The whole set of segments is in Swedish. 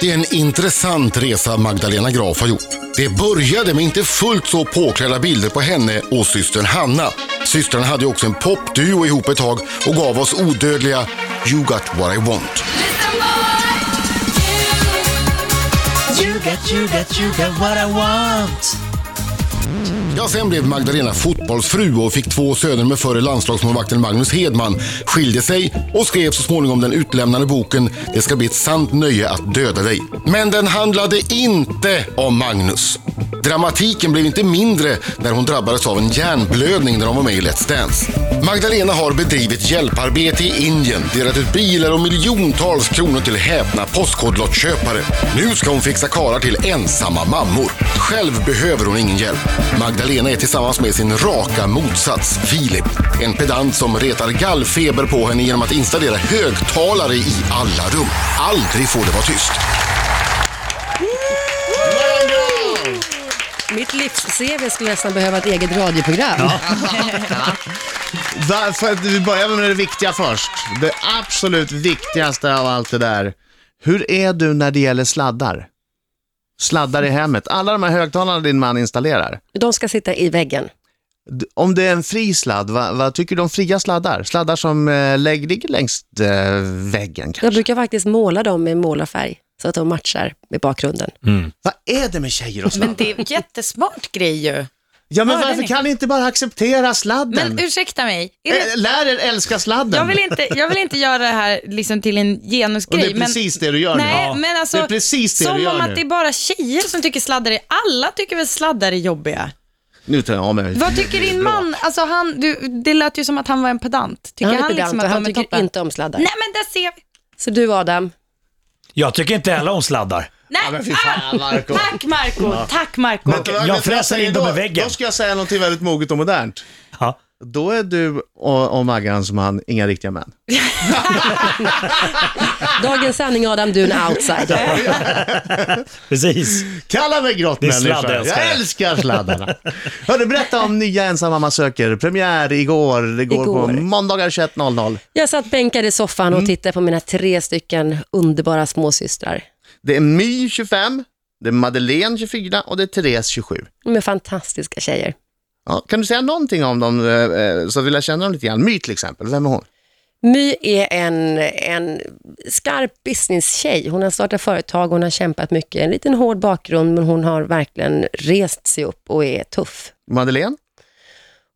Det är en intressant resa Magdalena Graf har gjort. Det började med inte fullt så påklädda bilder på henne och systern Hanna. Systrarna hade ju också en popduo ihop ett tag och gav oss odödliga You got what I want. You got, you got, you got what I want. Ja, sen blev Magdalena fotbollsfru och fick två söner med förre landslagsmålvakten Magnus Hedman, skilde sig och skrev så småningom den utlämnande boken Det ska bli ett sant nöje att döda dig. Men den handlade inte om Magnus. Dramatiken blev inte mindre när hon drabbades av en hjärnblödning när hon var med i Let's Dance. Magdalena har bedrivit hjälparbete i Indien, delat ut bilar och miljontals kronor till häpna postkodlottköpare. Nu ska hon fixa karlar till ensamma mammor. Själv behöver hon ingen hjälp. Magdalena är tillsammans med sin raka motsats, Filip. En pedant som retar gallfeber på henne genom att installera högtalare i alla rum. Aldrig får det vara tyst. Mitt livs-CV skulle nästan behöva ett eget radioprogram. Varför, vi börjar med det viktiga först. Det absolut viktigaste av allt det där. Hur är du när det gäller sladdar? Sladdar i hemmet. Alla de här högtalarna din man installerar. De ska sitta i väggen. D- Om det är en fri sladd, vad, vad tycker du om fria sladdar? Sladdar som eh, lägg- ligger längs eh, väggen Jag kanske. brukar faktiskt måla dem med målarfärg så att de matchar med bakgrunden. Mm. Vad är det med tjejer och Men sladdar? det är en jättesmart grej ju. Ja, men Hörde varför ni? kan ni inte bara acceptera sladden? Men ursäkta mig. Är Eh, det... Lär er älska sladden. Jag vill, inte, jag vill inte göra det här liksom till en Och genusgrej. det är precis det du gör men, nej, nu. men alltså, det är precis det som du om gör att nu. det är bara tjejer som tycker sladdar är... Alla tycker väl sladdar är jobbiga? Nu tar jag av mig. Vad tycker din man? Alltså han, du, det lät ju som att han var en pedant. Tycker Han han, är pedant liksom och att han de är tycker toppen? inte om sladdar. Nej men där ser vi. Så du Adam, Jag tycker inte heller om sladdar. Nej. Ja, men fy fan, Marco. Tack Marco Tack Marco Men- Jag fräser in dem i då, väggen. Då ska jag säga någonting väldigt moget och modernt. Ja. Då är du och, och Maggan som han, inga riktiga män. dagens sanning Adam, du är en outsider. Precis. Kalla mig Det är grottmänniska. sladdälskare. Jag älskar sladdarna. Hörru, berätta om nya Ensam mamma söker. Premiär igår. Det går på Igår. måndagar 21.00. Jag satt bänkad i soffan Mm. och tittade på mina tre stycken underbara småsystrar. Det är My 25, det är Madeleine 24 och det är Therese 27. De är fantastiska tjejer. Ja, kan du säga någonting om dem eh, eh, så vill jag känna dem lite grann? My till exempel, vem är hon? My är en, en skarp business-tjej. Hon har startat företag, hon har kämpat mycket. En liten hård bakgrund, men hon har verkligen rest sig upp och är tuff. Madeleine?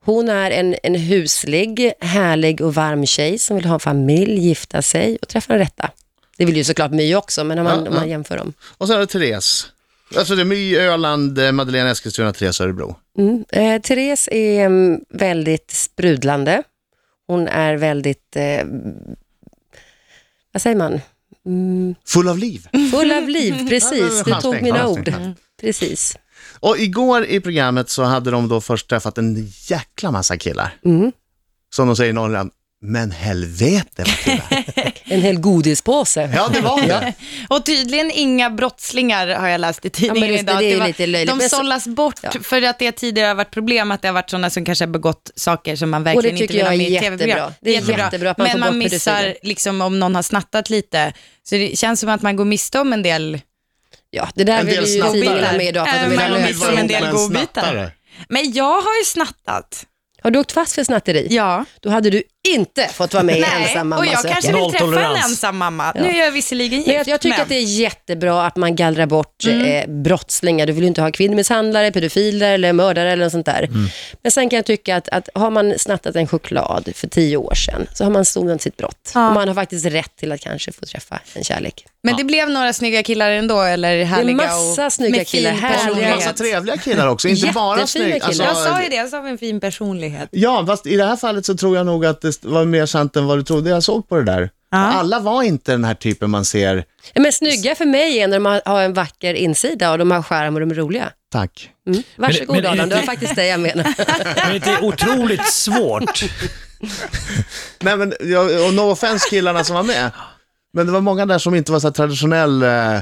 Hon är en, en huslig, härlig och varm tjej som vill ha en familj, gifta sig och träffa den rätta. Det vill ju såklart My också, men om man, Ja, om man ja. jämför dem. Och så är det Therese. Alltså det är My, Öland, eh, Madeleine, Eskilstuna, Therese, Örebro. Mm. Eh, Therese är mm, väldigt sprudlande. Hon är väldigt, eh, vad säger man, mm, Full av liv. full av liv. Ja, det Precis, var du chansning, tog mina chansning, ord. chansning. Precis. Och igår i programmet så hade de då först träffat en jäkla massa killar. Som de säger i Norrland, men helvete vad killar. En hel godispåse. ja, det var det. Och tydligen inga brottslingar har jag läst i tidningen Ja, men det- idag. det är Att ju var- lite löjligt. De Men så- sållas bort Ja. för att det tidigare har varit problem att det har varit sådana som kanske har begått saker som man Och det verkligen inte tycker vill ha jag är med i tv-program. jättebra. Det är jättebra att man får men man bort missar, pedofiler. liksom, om någon har snattat lite, så det känns som att man går miste om en del Ja, det där En vill del ju snattare. tidningarna med idag för att de Äh, vill ha men om vi lösningar. som en del Men godbitar. snattare. Men jag har ju snattat. Har du åkt fast för snatteri? Ja. Då hade du inte fått vara med i Nej, Ensam och mamma jag söker. kanske vill träffa en Nolltolerans. ensam mamma. Nu är jag visserligen gift, Men jag, jag tycker men... att det är jättebra att man gallrar bort eh, brottslingar. Du vill ju inte ha kvinnomisshandlare, pedofiler eller mördare eller något sånt där. Men sen kan jag tycka att, att har man snattat en choklad för tio år sedan så har man sonat sitt brott. Och man har faktiskt rätt till att kanske få träffa en kärlek. Men det blev några snygga killar ändå, eller härliga massa och, snygga med fin killar, härliga. Och en personlighet. massa trevliga killar också, inte bara Jättefina snygga. killar. Jag sa ju Alltså, det, jag sa en fin personlighet. ja, fast i det här fallet så tror jag nog att det var mer sant än vad du trodde jag såg på det där. Alla var inte den här typen man ser, Men snygga för mig är när de har, har en vacker insida och de har skärm och de är roliga. tack. Mm. Varsågod men är det Adam, det var inte- faktiskt det jag menade. Men det är otroligt svårt. Nej men, jag- och no offense killarna som var med. Men det var många där som inte var så här traditionell eh,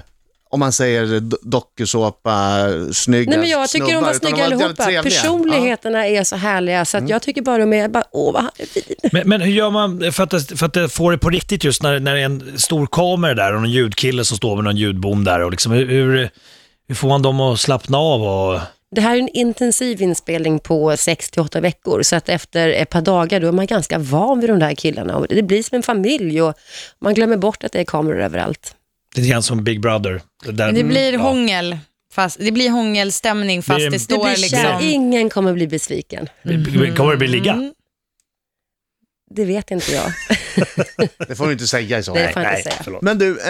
om man säger do- dokusåpa, snygga Nej, men jag tycker de snubbar, var utan snygga var jävligt allihopa. trevliga. Personligheterna är så härliga så att jag tycker bara de är, bara, åh vad han är fin. Men, men hur gör man för att, för att det får det på riktigt just när, när det är en stor kamera där och en ljudkille som står med någon ljudbom där och liksom hur, hur, hur får man dem att slappna av och... Det här är en intensiv inspelning på 6 till 8 veckor, så att efter ett par dagar då är man ganska van vid de där killarna. Och det blir som en familj och man glömmer bort att det är kameror överallt. Det är lite grann som Big Brother. Det, där, Men det blir ja. Mm. hångel. Fast, det blir hångelstämning fast Blir- det Du står blir kär, liksom... ingen kommer bli besviken. Kommer det bli ligga? Det vet inte jag. Det får du inte säga i så Nej, fall. det får jag inte säga. Men du,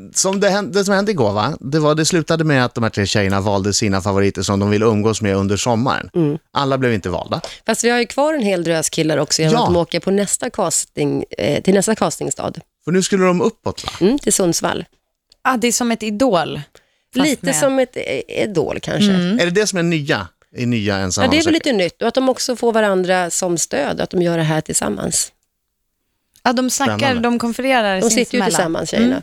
eh, som det, hände, det som hände igår, va? Det, var, det slutade med att de här tre tjejerna valde sina favoriter som de vill umgås med under sommaren. Mm. Alla blev inte valda. Fast vi har ju kvar en hel drös killar också genom Ja. att de åker på nästa casting, eh, till nästa castingstad, För nu skulle de uppåt, va? mm, till Sundsvall. Ah, det är som ett idol. fast Lite med- Mm. som ett eh, idol kanske. Är det det som är nya i nya Mm. Ja, ensamma det är väl söker? lite nytt och att de också får varandra som stöd, att de gör det här tillsammans. Ja, de snackar, Spännande. de konfererar De sitter ju sinsemellan. tillsammans tjejerna. Mm.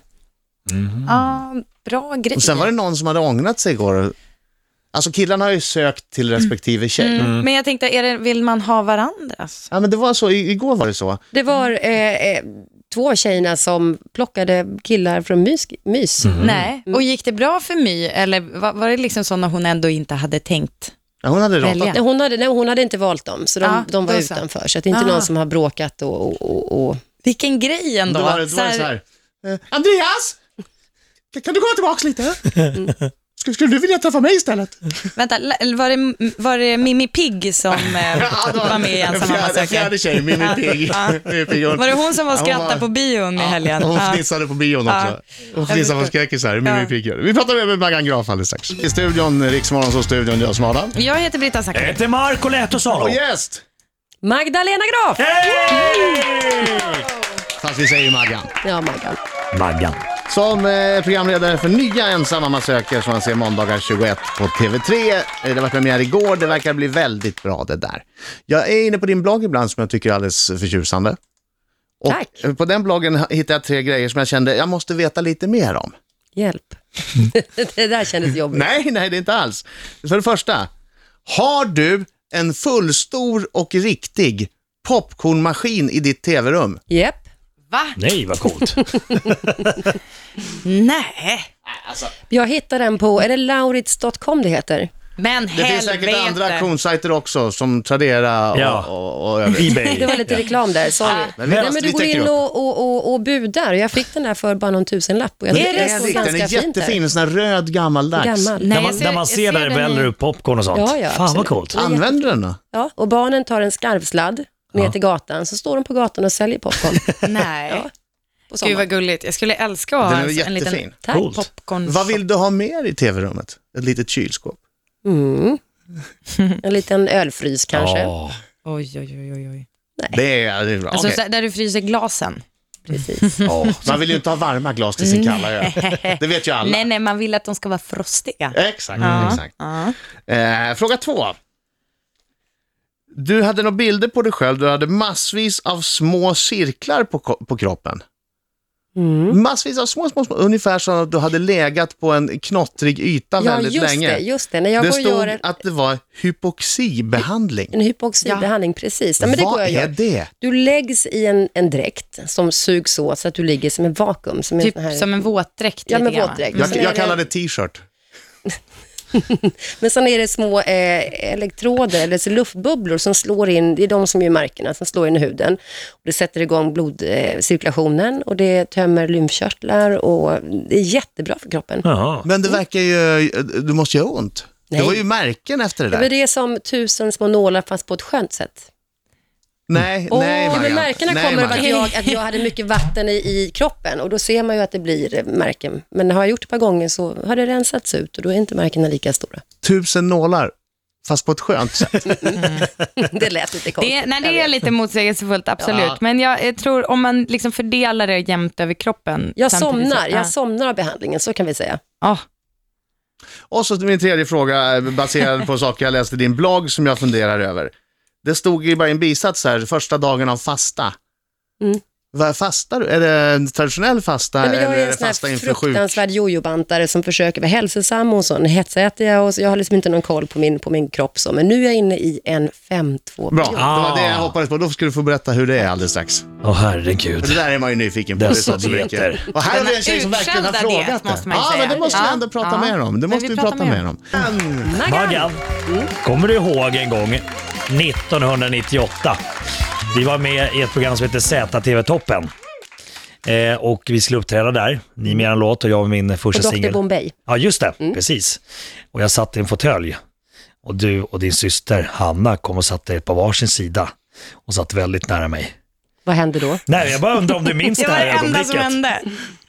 Ja, bra grej. Och sen var det någon som hade ångrat sig igår. Alltså killarna har ju sökt till respektive tjej. Mm. Men jag tänkte, är det, vill man ha varandras? Ja, men det var så, i- igår var det så. Det var eh, eh, två av tjejerna som plockade killar från mys. mys. Mm. Mm. Nej. Och gick det bra för My? Eller var, var det liksom sådana hon ändå inte hade tänkt? Ja, hon hade Välja. ratat. Nej, hon, hade, nej, hon hade inte valt dem, så de, Ja, de var då så. utanför. Så att det är inte Ah. någon som har bråkat och... och, och, och. Vilken grej ändå. Då var det, då var det så här. Eh, Andreas! Kan, kan du komma tillbaka lite? Skulle, skulle du vilja träffa mig istället? Vänta, l- var det, var det Mimi Pigg som eh, var med i Ensamma man En söker? fjärde tjej, Mimmi Pigg. Ja. Mimmi Pigg, hon- Var det hon som var och Ja, hon skrattade på bion i helgen? Ja, Ja. hon fnissade på bion också. Hon fnissade på skräckis här. Mimmi Ja. Pigg gör det. Vi pratar med Maggan Graf alldeles strax. I studion, Riksmorgon, så studion, jag som Adam. Jag heter Britta Zackari. Jag heter Marco Lehtosalo. Och gäst! Magdalena Graf! Fast vi säger Maggan. Ja, Maggan. Maggan. Som eh, programledare för nya Ensamma man söker som man ser måndagar 21 på TV3. Eh, Det var premiär igår, det verkar bli väldigt bra det där. Jag är inne på din blogg ibland som jag tycker är alldeles förtjusande. Och Tack. eh, På den bloggen ha- hittade jag tre grejer som jag kände jag måste veta lite mer om. Hjälp. det där kändes jobbigt. Nej, nej det är inte alls. För det första, har du en fullstor och riktig popcornmaskin i ditt TV-rum? Japp. Va? Nej, vad coolt. Nej. Jag hittade den på, är det lauritz.com det heter? Men Det helvete. finns säkert andra auktionssajter också som Tradera och, Ja. och, och övrigt. Ebay. Det var lite reklam där, sorry. men vi- Nej, men vi du går täcker in upp. och, och, och, och budar. Jag fick den där för bara någon tusenlapp. Och jag Men tycker det det är står riktigt, Den är ganska fint där. jättefin, en sån här röd gammaldags. Gammal. När Nej, man, jag ser- när man jag ser där det den i- väller upp popcorn och sånt. Ja, ja, Fan vad absolut. coolt. Använder du den då? Ja, och barnen tar en skarvsladd ner Ja. till gatan, så står de på gatan och säljer popcorn. Nej. Ja, på Gud sommaren. vad gulligt. Jag skulle älska att ha Den är en, alltså, en jättefin. liten Tack. Coolt. popcorn. Vad vill du ha mer i tv-rummet? Ett litet kylskåp? Mm. En liten ölfrys kanske. Ja. Oj, oj, oj, oj, oj. Det är, det är bra. Alltså Okej. så- där du fryser glasen. Precis. Ja. Man vill ju inte ha varma glas till sin kalla öl. Det vet ju alla. Nej, nej, man vill att de ska vara frostiga. Exakt. exakt. Ja. Eh, fråga två. Du hade några bilder på dig själv. Du hade massvis av små cirklar på, ko- på kroppen. Mm. Massvis av små, små, små. Ungefär som att du hade legat på en knottrig yta Ja, väldigt just länge. det. Just det. När jag det går och gör stod en, att det var hypoxibehandling. en hypoxidbehandling, precis. Ja, men det Vad går jag och är gör. det? Du läggs i en, en dräkt som sugs åt så att du ligger som en vakuum. Som en sån Typ här, som en våtdräkt. Ja, lite men grann. våtdräkt. Jag, Sen är jag kallar det t-shirt. Men sen är det små eh, elektroder, eller så luftbubblor, som slår in, det är de som gör märkena, som slår in i huden. Och det sätter igång blodcirkulationen eh, cirkulationen och det tömmer lymfkörtlar och det är jättebra för kroppen. Jaha. Men det verkar ju, du måste göra ont. Det Nej. var ju märken efter det där. Men det är som tusen små nålar fast på ett skönt sätt. Nej, Åh, nej ja, men Maggan. märkena nej, kommer av Maggan. att jag, att jag hade mycket vatten i, i kroppen och då ser man ju att det blir eh, märken. Men har jag gjort det ett par gånger så har det rensats ut och då är inte märkena lika stora. Tusen nålar, fast på ett skönt sätt. Det lät lite konstigt. Det, nej, jag det är vet. lite motsägelsefullt, absolut. Men jag, jag tror om man liksom fördelar det jämnt över kroppen. jag samtidigt så- somnar, ja. jag somnar av behandlingen, så kan vi säga. Ja. Och så min tredje fråga, eh, baserad på saker jag läste i din blogg som jag funderar över. Det stod ju bara i en bisats här, första dagen av fasta. Vad fastar du? Är det en traditionell fasta Nej, men jag eller är är en det sån fasta här inför sjuk? fruktansvärd jojobantare som försöker vara hälsosam och sån hetsäter jag och så jag har liksom inte någon koll på min, på min kropp så. Men nu är jag inne i en 5-2 Bra, period. det var det jag Ah. hoppades på. Då ska du få berätta hur det är alldeles strax. Åh herregud. Det där är man ju nyfiken på. Den Det är så som vet mycket. Och här har vi en tjej som verkligen har Utskällda diet, frågat det. måste man ju ja, säga. men det måste vi Ja, ändå prata ja. mer om. Det Men måste vi vi pratar prata mer mer om. Maggan, kommer du ihåg en gång 1998? Vi var med i ett program som hette ZTV-toppen. Eh, och vi skulle uppträda där, ni med en låt och jag med min första Och Dr. singel. Bombay. Ja, just det. Mm. Precis. Och jag satt i en fåtölj. Och du och din syster Hanna kom och satte er på varsin sida. Och satt väldigt nära mig. Vad hände då? Nej, jag bara undrar om du minns Det det var här det enda som ögonblicket. hände.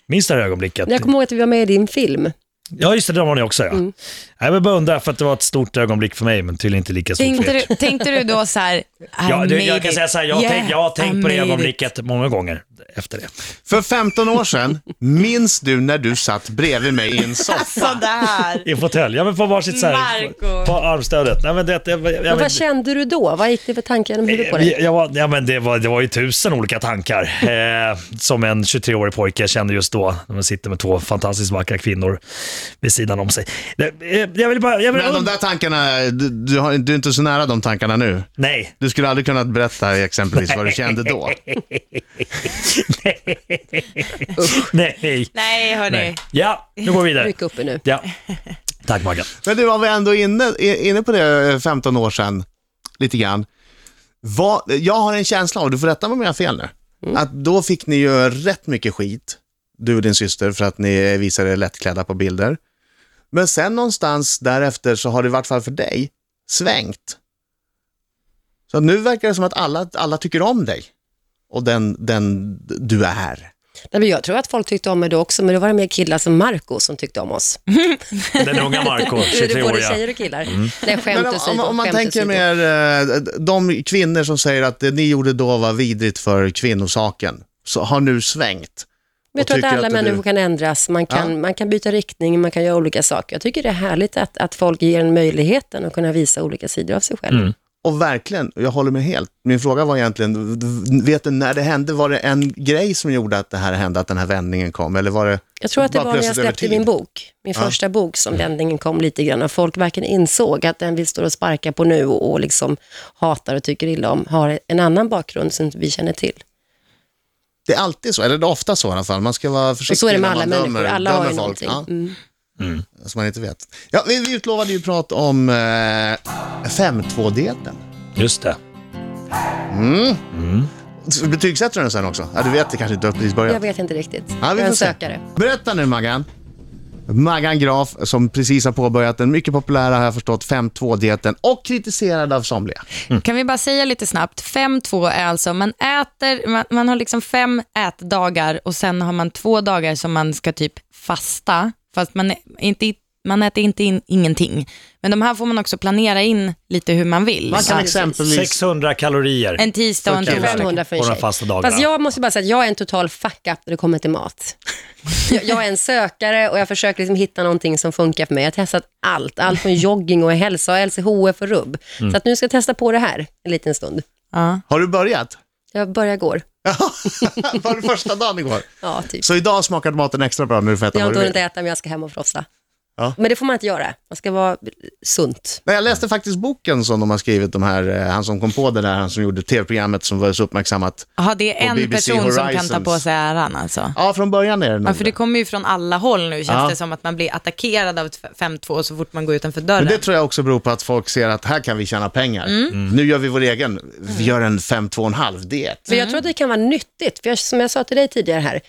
Minns det här ögonblicket? Jag kommer ihåg att vi var med i din film. Ja, just det, där var ni också ja. Mm. Nej, Jag bara undrar, för att det var ett stort ögonblick för mig, men tydligen inte lika stort för Tänkte er. du, tänkte du då så här, I Ja, du, made jag kan it. säga så här, jag, har Yeah, tänkt- jag har I tänkt på det made it. ögonblicket många gånger efter det. För 15 år sedan, minns du när du satt bredvid mig i en soffa? Sådär. I en fåtölj, ja men på varsitt så här, Marco. på armstödet. Nej men det, jag, jag, jag, Men vad kände du då? Vad gick det för tankar genom huvudet på dig? jag, jag var, ja, men det, var, det var ju tusen olika tankar eh, som en 23-årig pojke kände just då, när man sitter med två fantastiskt vackra kvinnor vid sidan om sig. Det, eh, jag vill bara... Jag vill, Men de där tankarna, du, du, har, du är inte så nära de tankarna nu. Nej, Du skulle aldrig kunnat berätta exempelvis vad du kände då. nej, Nej, hörni. nej. Ja, nu går vi vidare. Ryck upp er nu. Ja. Tack Maggan. Men du, var vi ändå inne, i- inne på det eh, 15 år sedan, lite grann. Vad, jag har en känsla av, du får rätta mig om jag har fel nu, att då fick ni ju rätt mycket skit, du och din syster, för att ni visade er lättklädda på bilder. Men sen någonstans därefter så har det i vart fall för dig svängt. Så nu verkar det som att alla, alla tycker om dig och den, den du är. Nej, men jag tror att folk tyckte om mig då också, men då var det mer killar som Marco som tyckte om oss. Mm. Den unga Marco, Nu är det både 23-åriga. tjejer och killar. Nej, skämt Men om, om, åsido. om man skämt tänker åsido. mer eh, de kvinnor som säger att det ni gjorde då var vidrigt för kvinnosaken, så har nu svängt. Men jag och tror att tycker alla att du- människor kan ändras, man kan, Ja. man kan byta riktning, man kan göra olika saker. Jag tycker det är härligt att, att folk ger en möjligheten att kunna visa olika sidor av sig själv. Och verkligen, jag håller med helt. Min fråga var egentligen, vet du när det hände, var det en grej som gjorde att det här hände, att den här vändningen kom? Eller var det... Jag tror att det Bara var när jag plötsligt över släppte tid. min bok, min Ja. första bok, som vändningen kom lite grann. Och folk verkligen insåg att den vi står och sparkar på nu och, och liksom hatar och tycker illa om har en annan bakgrund som vi känner till. Det är alltid så, eller det är ofta så i alla fall. Man ska vara försiktig Och så är det med när alla man människor, dömer, alla har dömer ju folk. någonting. Ja, Mm. som man inte vet. Ja, vi, vi utlovade ju prat om eh, 5.2-dieten. Just det. Betygsätter du den sen också? Ja, du vet, det kanske inte har precis börjat. Jag vet inte riktigt. Ja, jag vi är får en se. sökare. Berätta nu Maggan. Maggan Graf som precis har påbörjat den mycket populära, har jag förstått, 5.2-dieten och kritiserad av somliga. Kan vi bara säga lite snabbt, 5-2 är alltså, man äter, man, man har liksom fem ätdagar och sen har man två dagar som man ska typ fasta, fast man, är inte, man äter inte in, ingenting. Men de här får man också planera in lite hur man vill. Man kan Ja, exempelvis... 600 kalorier. En tisdag och en Okej. torsdag. 500 för en På de tjej. fasta dagarna. Fast jag måste bara säga att jag är en total fuck-up när det kommer till mat. Jag, jag är en sökare och jag försöker liksom hitta någonting som funkar för mig. Jag har testat allt, allt från jogging och hälsa och LCHF och rubb. Mm. Så att nu ska jag testa på det här en liten stund. Ja. Har du börjat? Jag börjar går. Var det första dagen igår? Ja, typ. Så idag smakade maten extra bra när du får äta Jag har vad inte du hunnit vill. äta, men jag ska hem och frossa. Ja. Men det får man inte göra. Man ska vara sunt. Men jag läste faktiskt boken som de har skrivit, de här, eh, han som kom på det där, han som gjorde tv-programmet som var så uppmärksammat. Jaha, det Och är en BBC person som kan ta på Horizons. sig äran alltså. Ja, från början är det nog Ja, för det kommer ju från alla håll nu, känns Ja. det som att man blir attackerad av ett 5-2 så fort man går utanför dörren. Men det tror jag också beror på att folk ser att här kan vi tjäna pengar. Mm. Nu gör vi vår egen, vi gör en 5-2,5-diet. För Mm. jag tror att det kan vara nyttigt, för jag, som jag sa till dig tidigare här,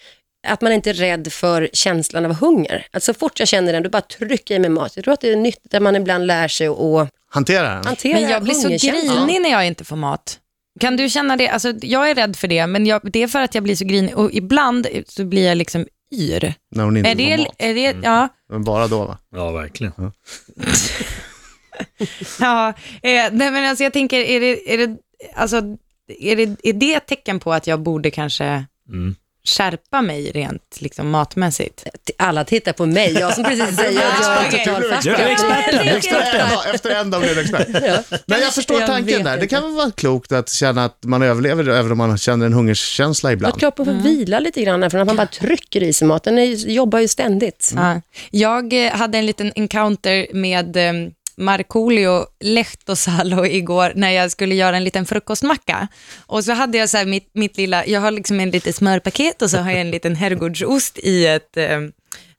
att man inte är rädd för känslan av hunger. Att så fort jag känner den, då bara trycker jag i mig mat. Jag tror att det är nyttigt att man ibland lär sig att Hantera den. hantera Men jag blir så hungerkänslan. grinig när jag inte får mat. Kan du känna det? Alltså, jag är rädd för det, men jag, det är för att jag blir så grinig och ibland så blir jag liksom yr. När hon inte Är det, får mat. är det, ja, Men bara då va? Ja, verkligen. ja, eh, nej, men alltså jag tänker, är det, är det, alltså, är det, är det ett tecken på att jag borde kanske skärpa mig rent liksom, matmässigt. T- Alla tittar på mig, jag som precis säger att jag är Okej. total Du är experten, experten. Ja, efter en dag blev det expert. Men jag förstår Jag tanken vet där. Det inte. kan väl vara klokt att känna att man överlever även om man känner en hungerskänsla Att ibland. kroppen får Mm. vila lite grann, för att man bara trycker i sig maten. Den är ju- jobbar ju ständigt. Ja. Jag eh, hade en liten encounter med eh, Markoolio Lehtosalo igår när jag skulle göra en liten frukostmacka. Och så hade jag så här mitt, mitt lilla, jag har liksom en litet smörpaket och så har jag en liten herrgårdsost i ett eh,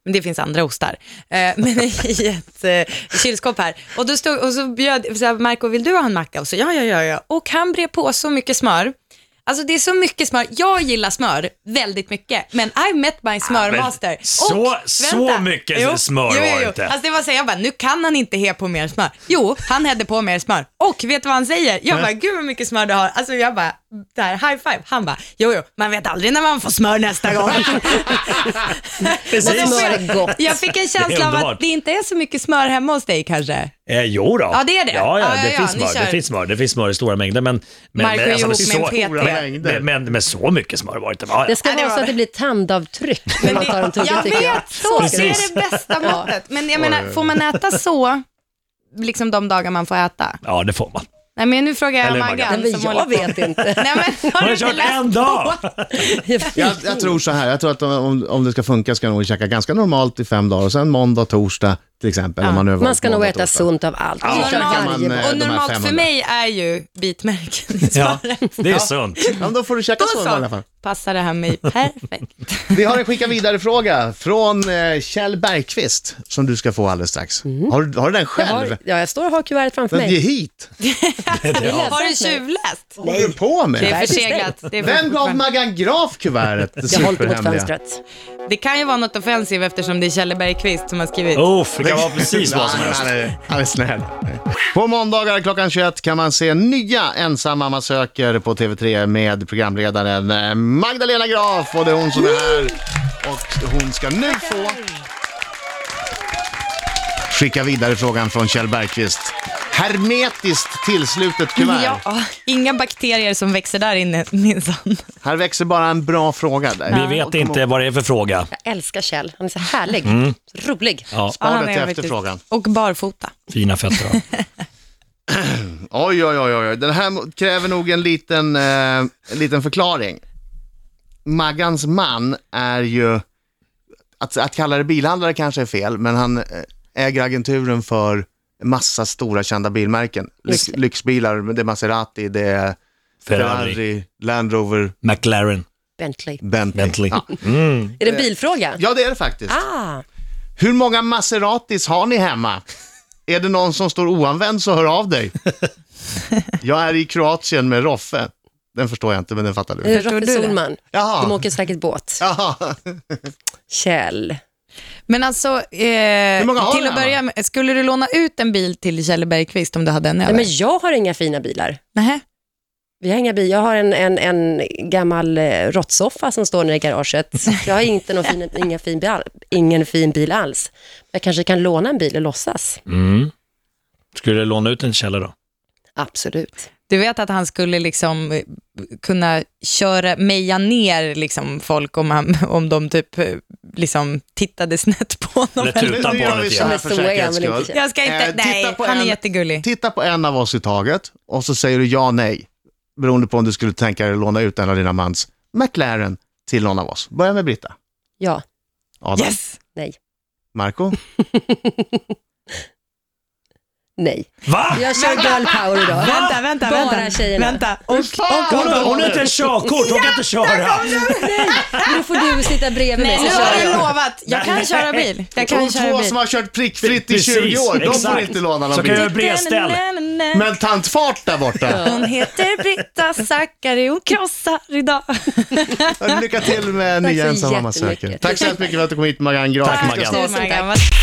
men det finns andra ostar. Eh, men i ett eh, kylskåp här. Och, då stod, och så bjöd, så här, Marco vill du ha en macka? Och så ja, ja, ja, ja. Och han brer på så mycket smör. Alltså det är så mycket smör. Jag gillar smör väldigt mycket, men I met my smörmaster. Och, så- så mycket smör jo, var jo. det inte. Alltså det var så här, jag bara, nu kan han inte he på mer smör. Jo, han hädde på mer smör. Och vet du vad han säger? Jag bara, gud vad mycket smör du har. Alltså jag bara, där, high five. Han bara, jo, jo, man vet aldrig när man får smör nästa gång. Och smör Precis. är gott. jag fick en Det är känsla av underbart. att det inte är så mycket smör hemma hos dig kanske. Eh, jo då. Ja, det är det. Ja, ja, Ja, det, ja, ja, finns ni smör. det kör. finns smör. Det finns smör i stora mängder. Men, men, alltså, Marco är ihop med en så, PT. men, men, men, men så mycket smör var det inte. Ja, Det ska Ja, det vara så var att det det. blir tandavtryck när man tar en tugga, jag tycker jag. vet, så, det Precis. är det bästa måttet. Men jag menar, får man äta så, liksom de dagar man får äta? ja, det får man. Nej men nu frågar jag Eller Maggan. Maggan Men som håller jag på. vet inte. Nej men har Har du du inte kört läst en dag? Jag, jag tror så här, jag tror att om, om det ska funka ska jag nog käka ganska normalt i fem dagar och sen måndag, torsdag till exempel. Om man, nu har Man valt ska nog måndag, äta torsdag. sunt av allt. Ja, Vi kör kan man, varje eh, dag. och de här normalt 500. för mig är ju bitmärken i Ja, smöret. det är sunt. Ja, men då får du käka Då så i alla fall. så passar det här mig perfekt. Vi har en skicka vidare-fråga från eh, Kjell Bergqvist som du ska få alldeles strax. Har, du- har du den Mm. Jag själv? har, ja, jag står och har kuvertet framför Men ge mig. hit. Ja. Har du tjuvläst? Vad håller du på Det med? är förseglat. Det, är Vem gav fortfarande- Maggan Graf kuvertet? Det Jag håller mot superhemliga. fönstret. det kan ju vara något offensivt eftersom det är Kjelle Bergqvist som har skrivit. Uff, det kan vara precis vad som Nej, helst. Han är, han är snäll. På måndagar klockan 21 kan man se nya Ensam mamma söker på TV3 med programledaren eh, Magdalena Graf och det är hon som är här. Och hon ska nu få skicka vidare frågan från Kjell Bergqvist. Hermetiskt tillslutet kuvert. Ja, inga bakterier som växer där inne minsann. Här växer bara en bra fråga där. Vi vet inte vad det är för fråga. Jag älskar Kjell. Han är så härlig. Så rolig. Ja, Ja, det han är till faktiskt- efterfrågan. Och barfota. fina fötter. då. Oj, oj, oj, oj. oj. Den här mo- kräver nog en liten, eh, en liten förklaring. Maggans man är ju, att, att kalla det bilhandlare kanske är fel, men han eh, äger agenturen för massa stora kända bilmärken. Lyx, lyxbilar, det är Maserati, det är Ferrari, Ferrari, Land Rover, McLaren, Bentley. Bentley. Bentley. Ja. Är det en bilfråga? ja, det är det faktiskt. Ah, Hur många Maseratis har ni hemma? Är det någon som står oanvänd så hör av dig. Jag är i Kroatien med Roffe. Den förstår jag inte, men den fattar det du. är Eh, Roffe Solman. De Jaha. åker säkert båt. Jaha. Kjell. Men alltså, många eh, har till du att här, börja med, skulle du låna ut en bil till Kjelle Bergqvist om du hade en Nej, över? men jag har inga fina bilar. Nähä. Vi har inga bilar. Jag har en, en, en gammal eh, råttsoffa som står nere i garaget. Jag har inte någon fin, inga fin bil, ingen fin bil alls. Jag kanske kan låna en bil och låtsas. Mm. Skulle du låna ut en källa då? Absolut. Du vet att han skulle liksom eh, kunna köra, meja ner liksom folk om, han, om de typ eh, liksom tittade snett på honom. Eller tuta på Nu gör honom vi lite så grann. här Men för så är han säkerhets väl inte skull. känd. Jag ska inte, Eh, titta nej, på han är en- jättegullig. Titta på en av oss i taget och så säger du ja, nej. Beroende på om du skulle tänka dig att låna ut en av dina mans McLaren till någon av oss. Börja med Britta. Ja, Adam. Yes! nej, Marco. nej. Va? Jag kör girl power idag. Vänta, Ah! vänta, Bara vänta. tjejerna. vänta. Och, fan! och, Hon, har- hon har inte ens körkort, hon kan inte köra. Nu får du sitta bredvid mig nej, så nu kör har du jag. lovat. Jag kan köra bil. Jag kan De köra två bil. som har kört prickfritt i 20 år, de får exakt. inte låna Så någon kan jag bil. göra bredställ. Men tantfart där borta. Hon heter Britta Zackari, hon krossar idag. Lycka till med Tack nya så Ensam mamma söker. jättemycket. Tack så hemskt mycket för att du kom hit Marianne Graf. Tack, Vi ska Maggan. snart Tusen tack.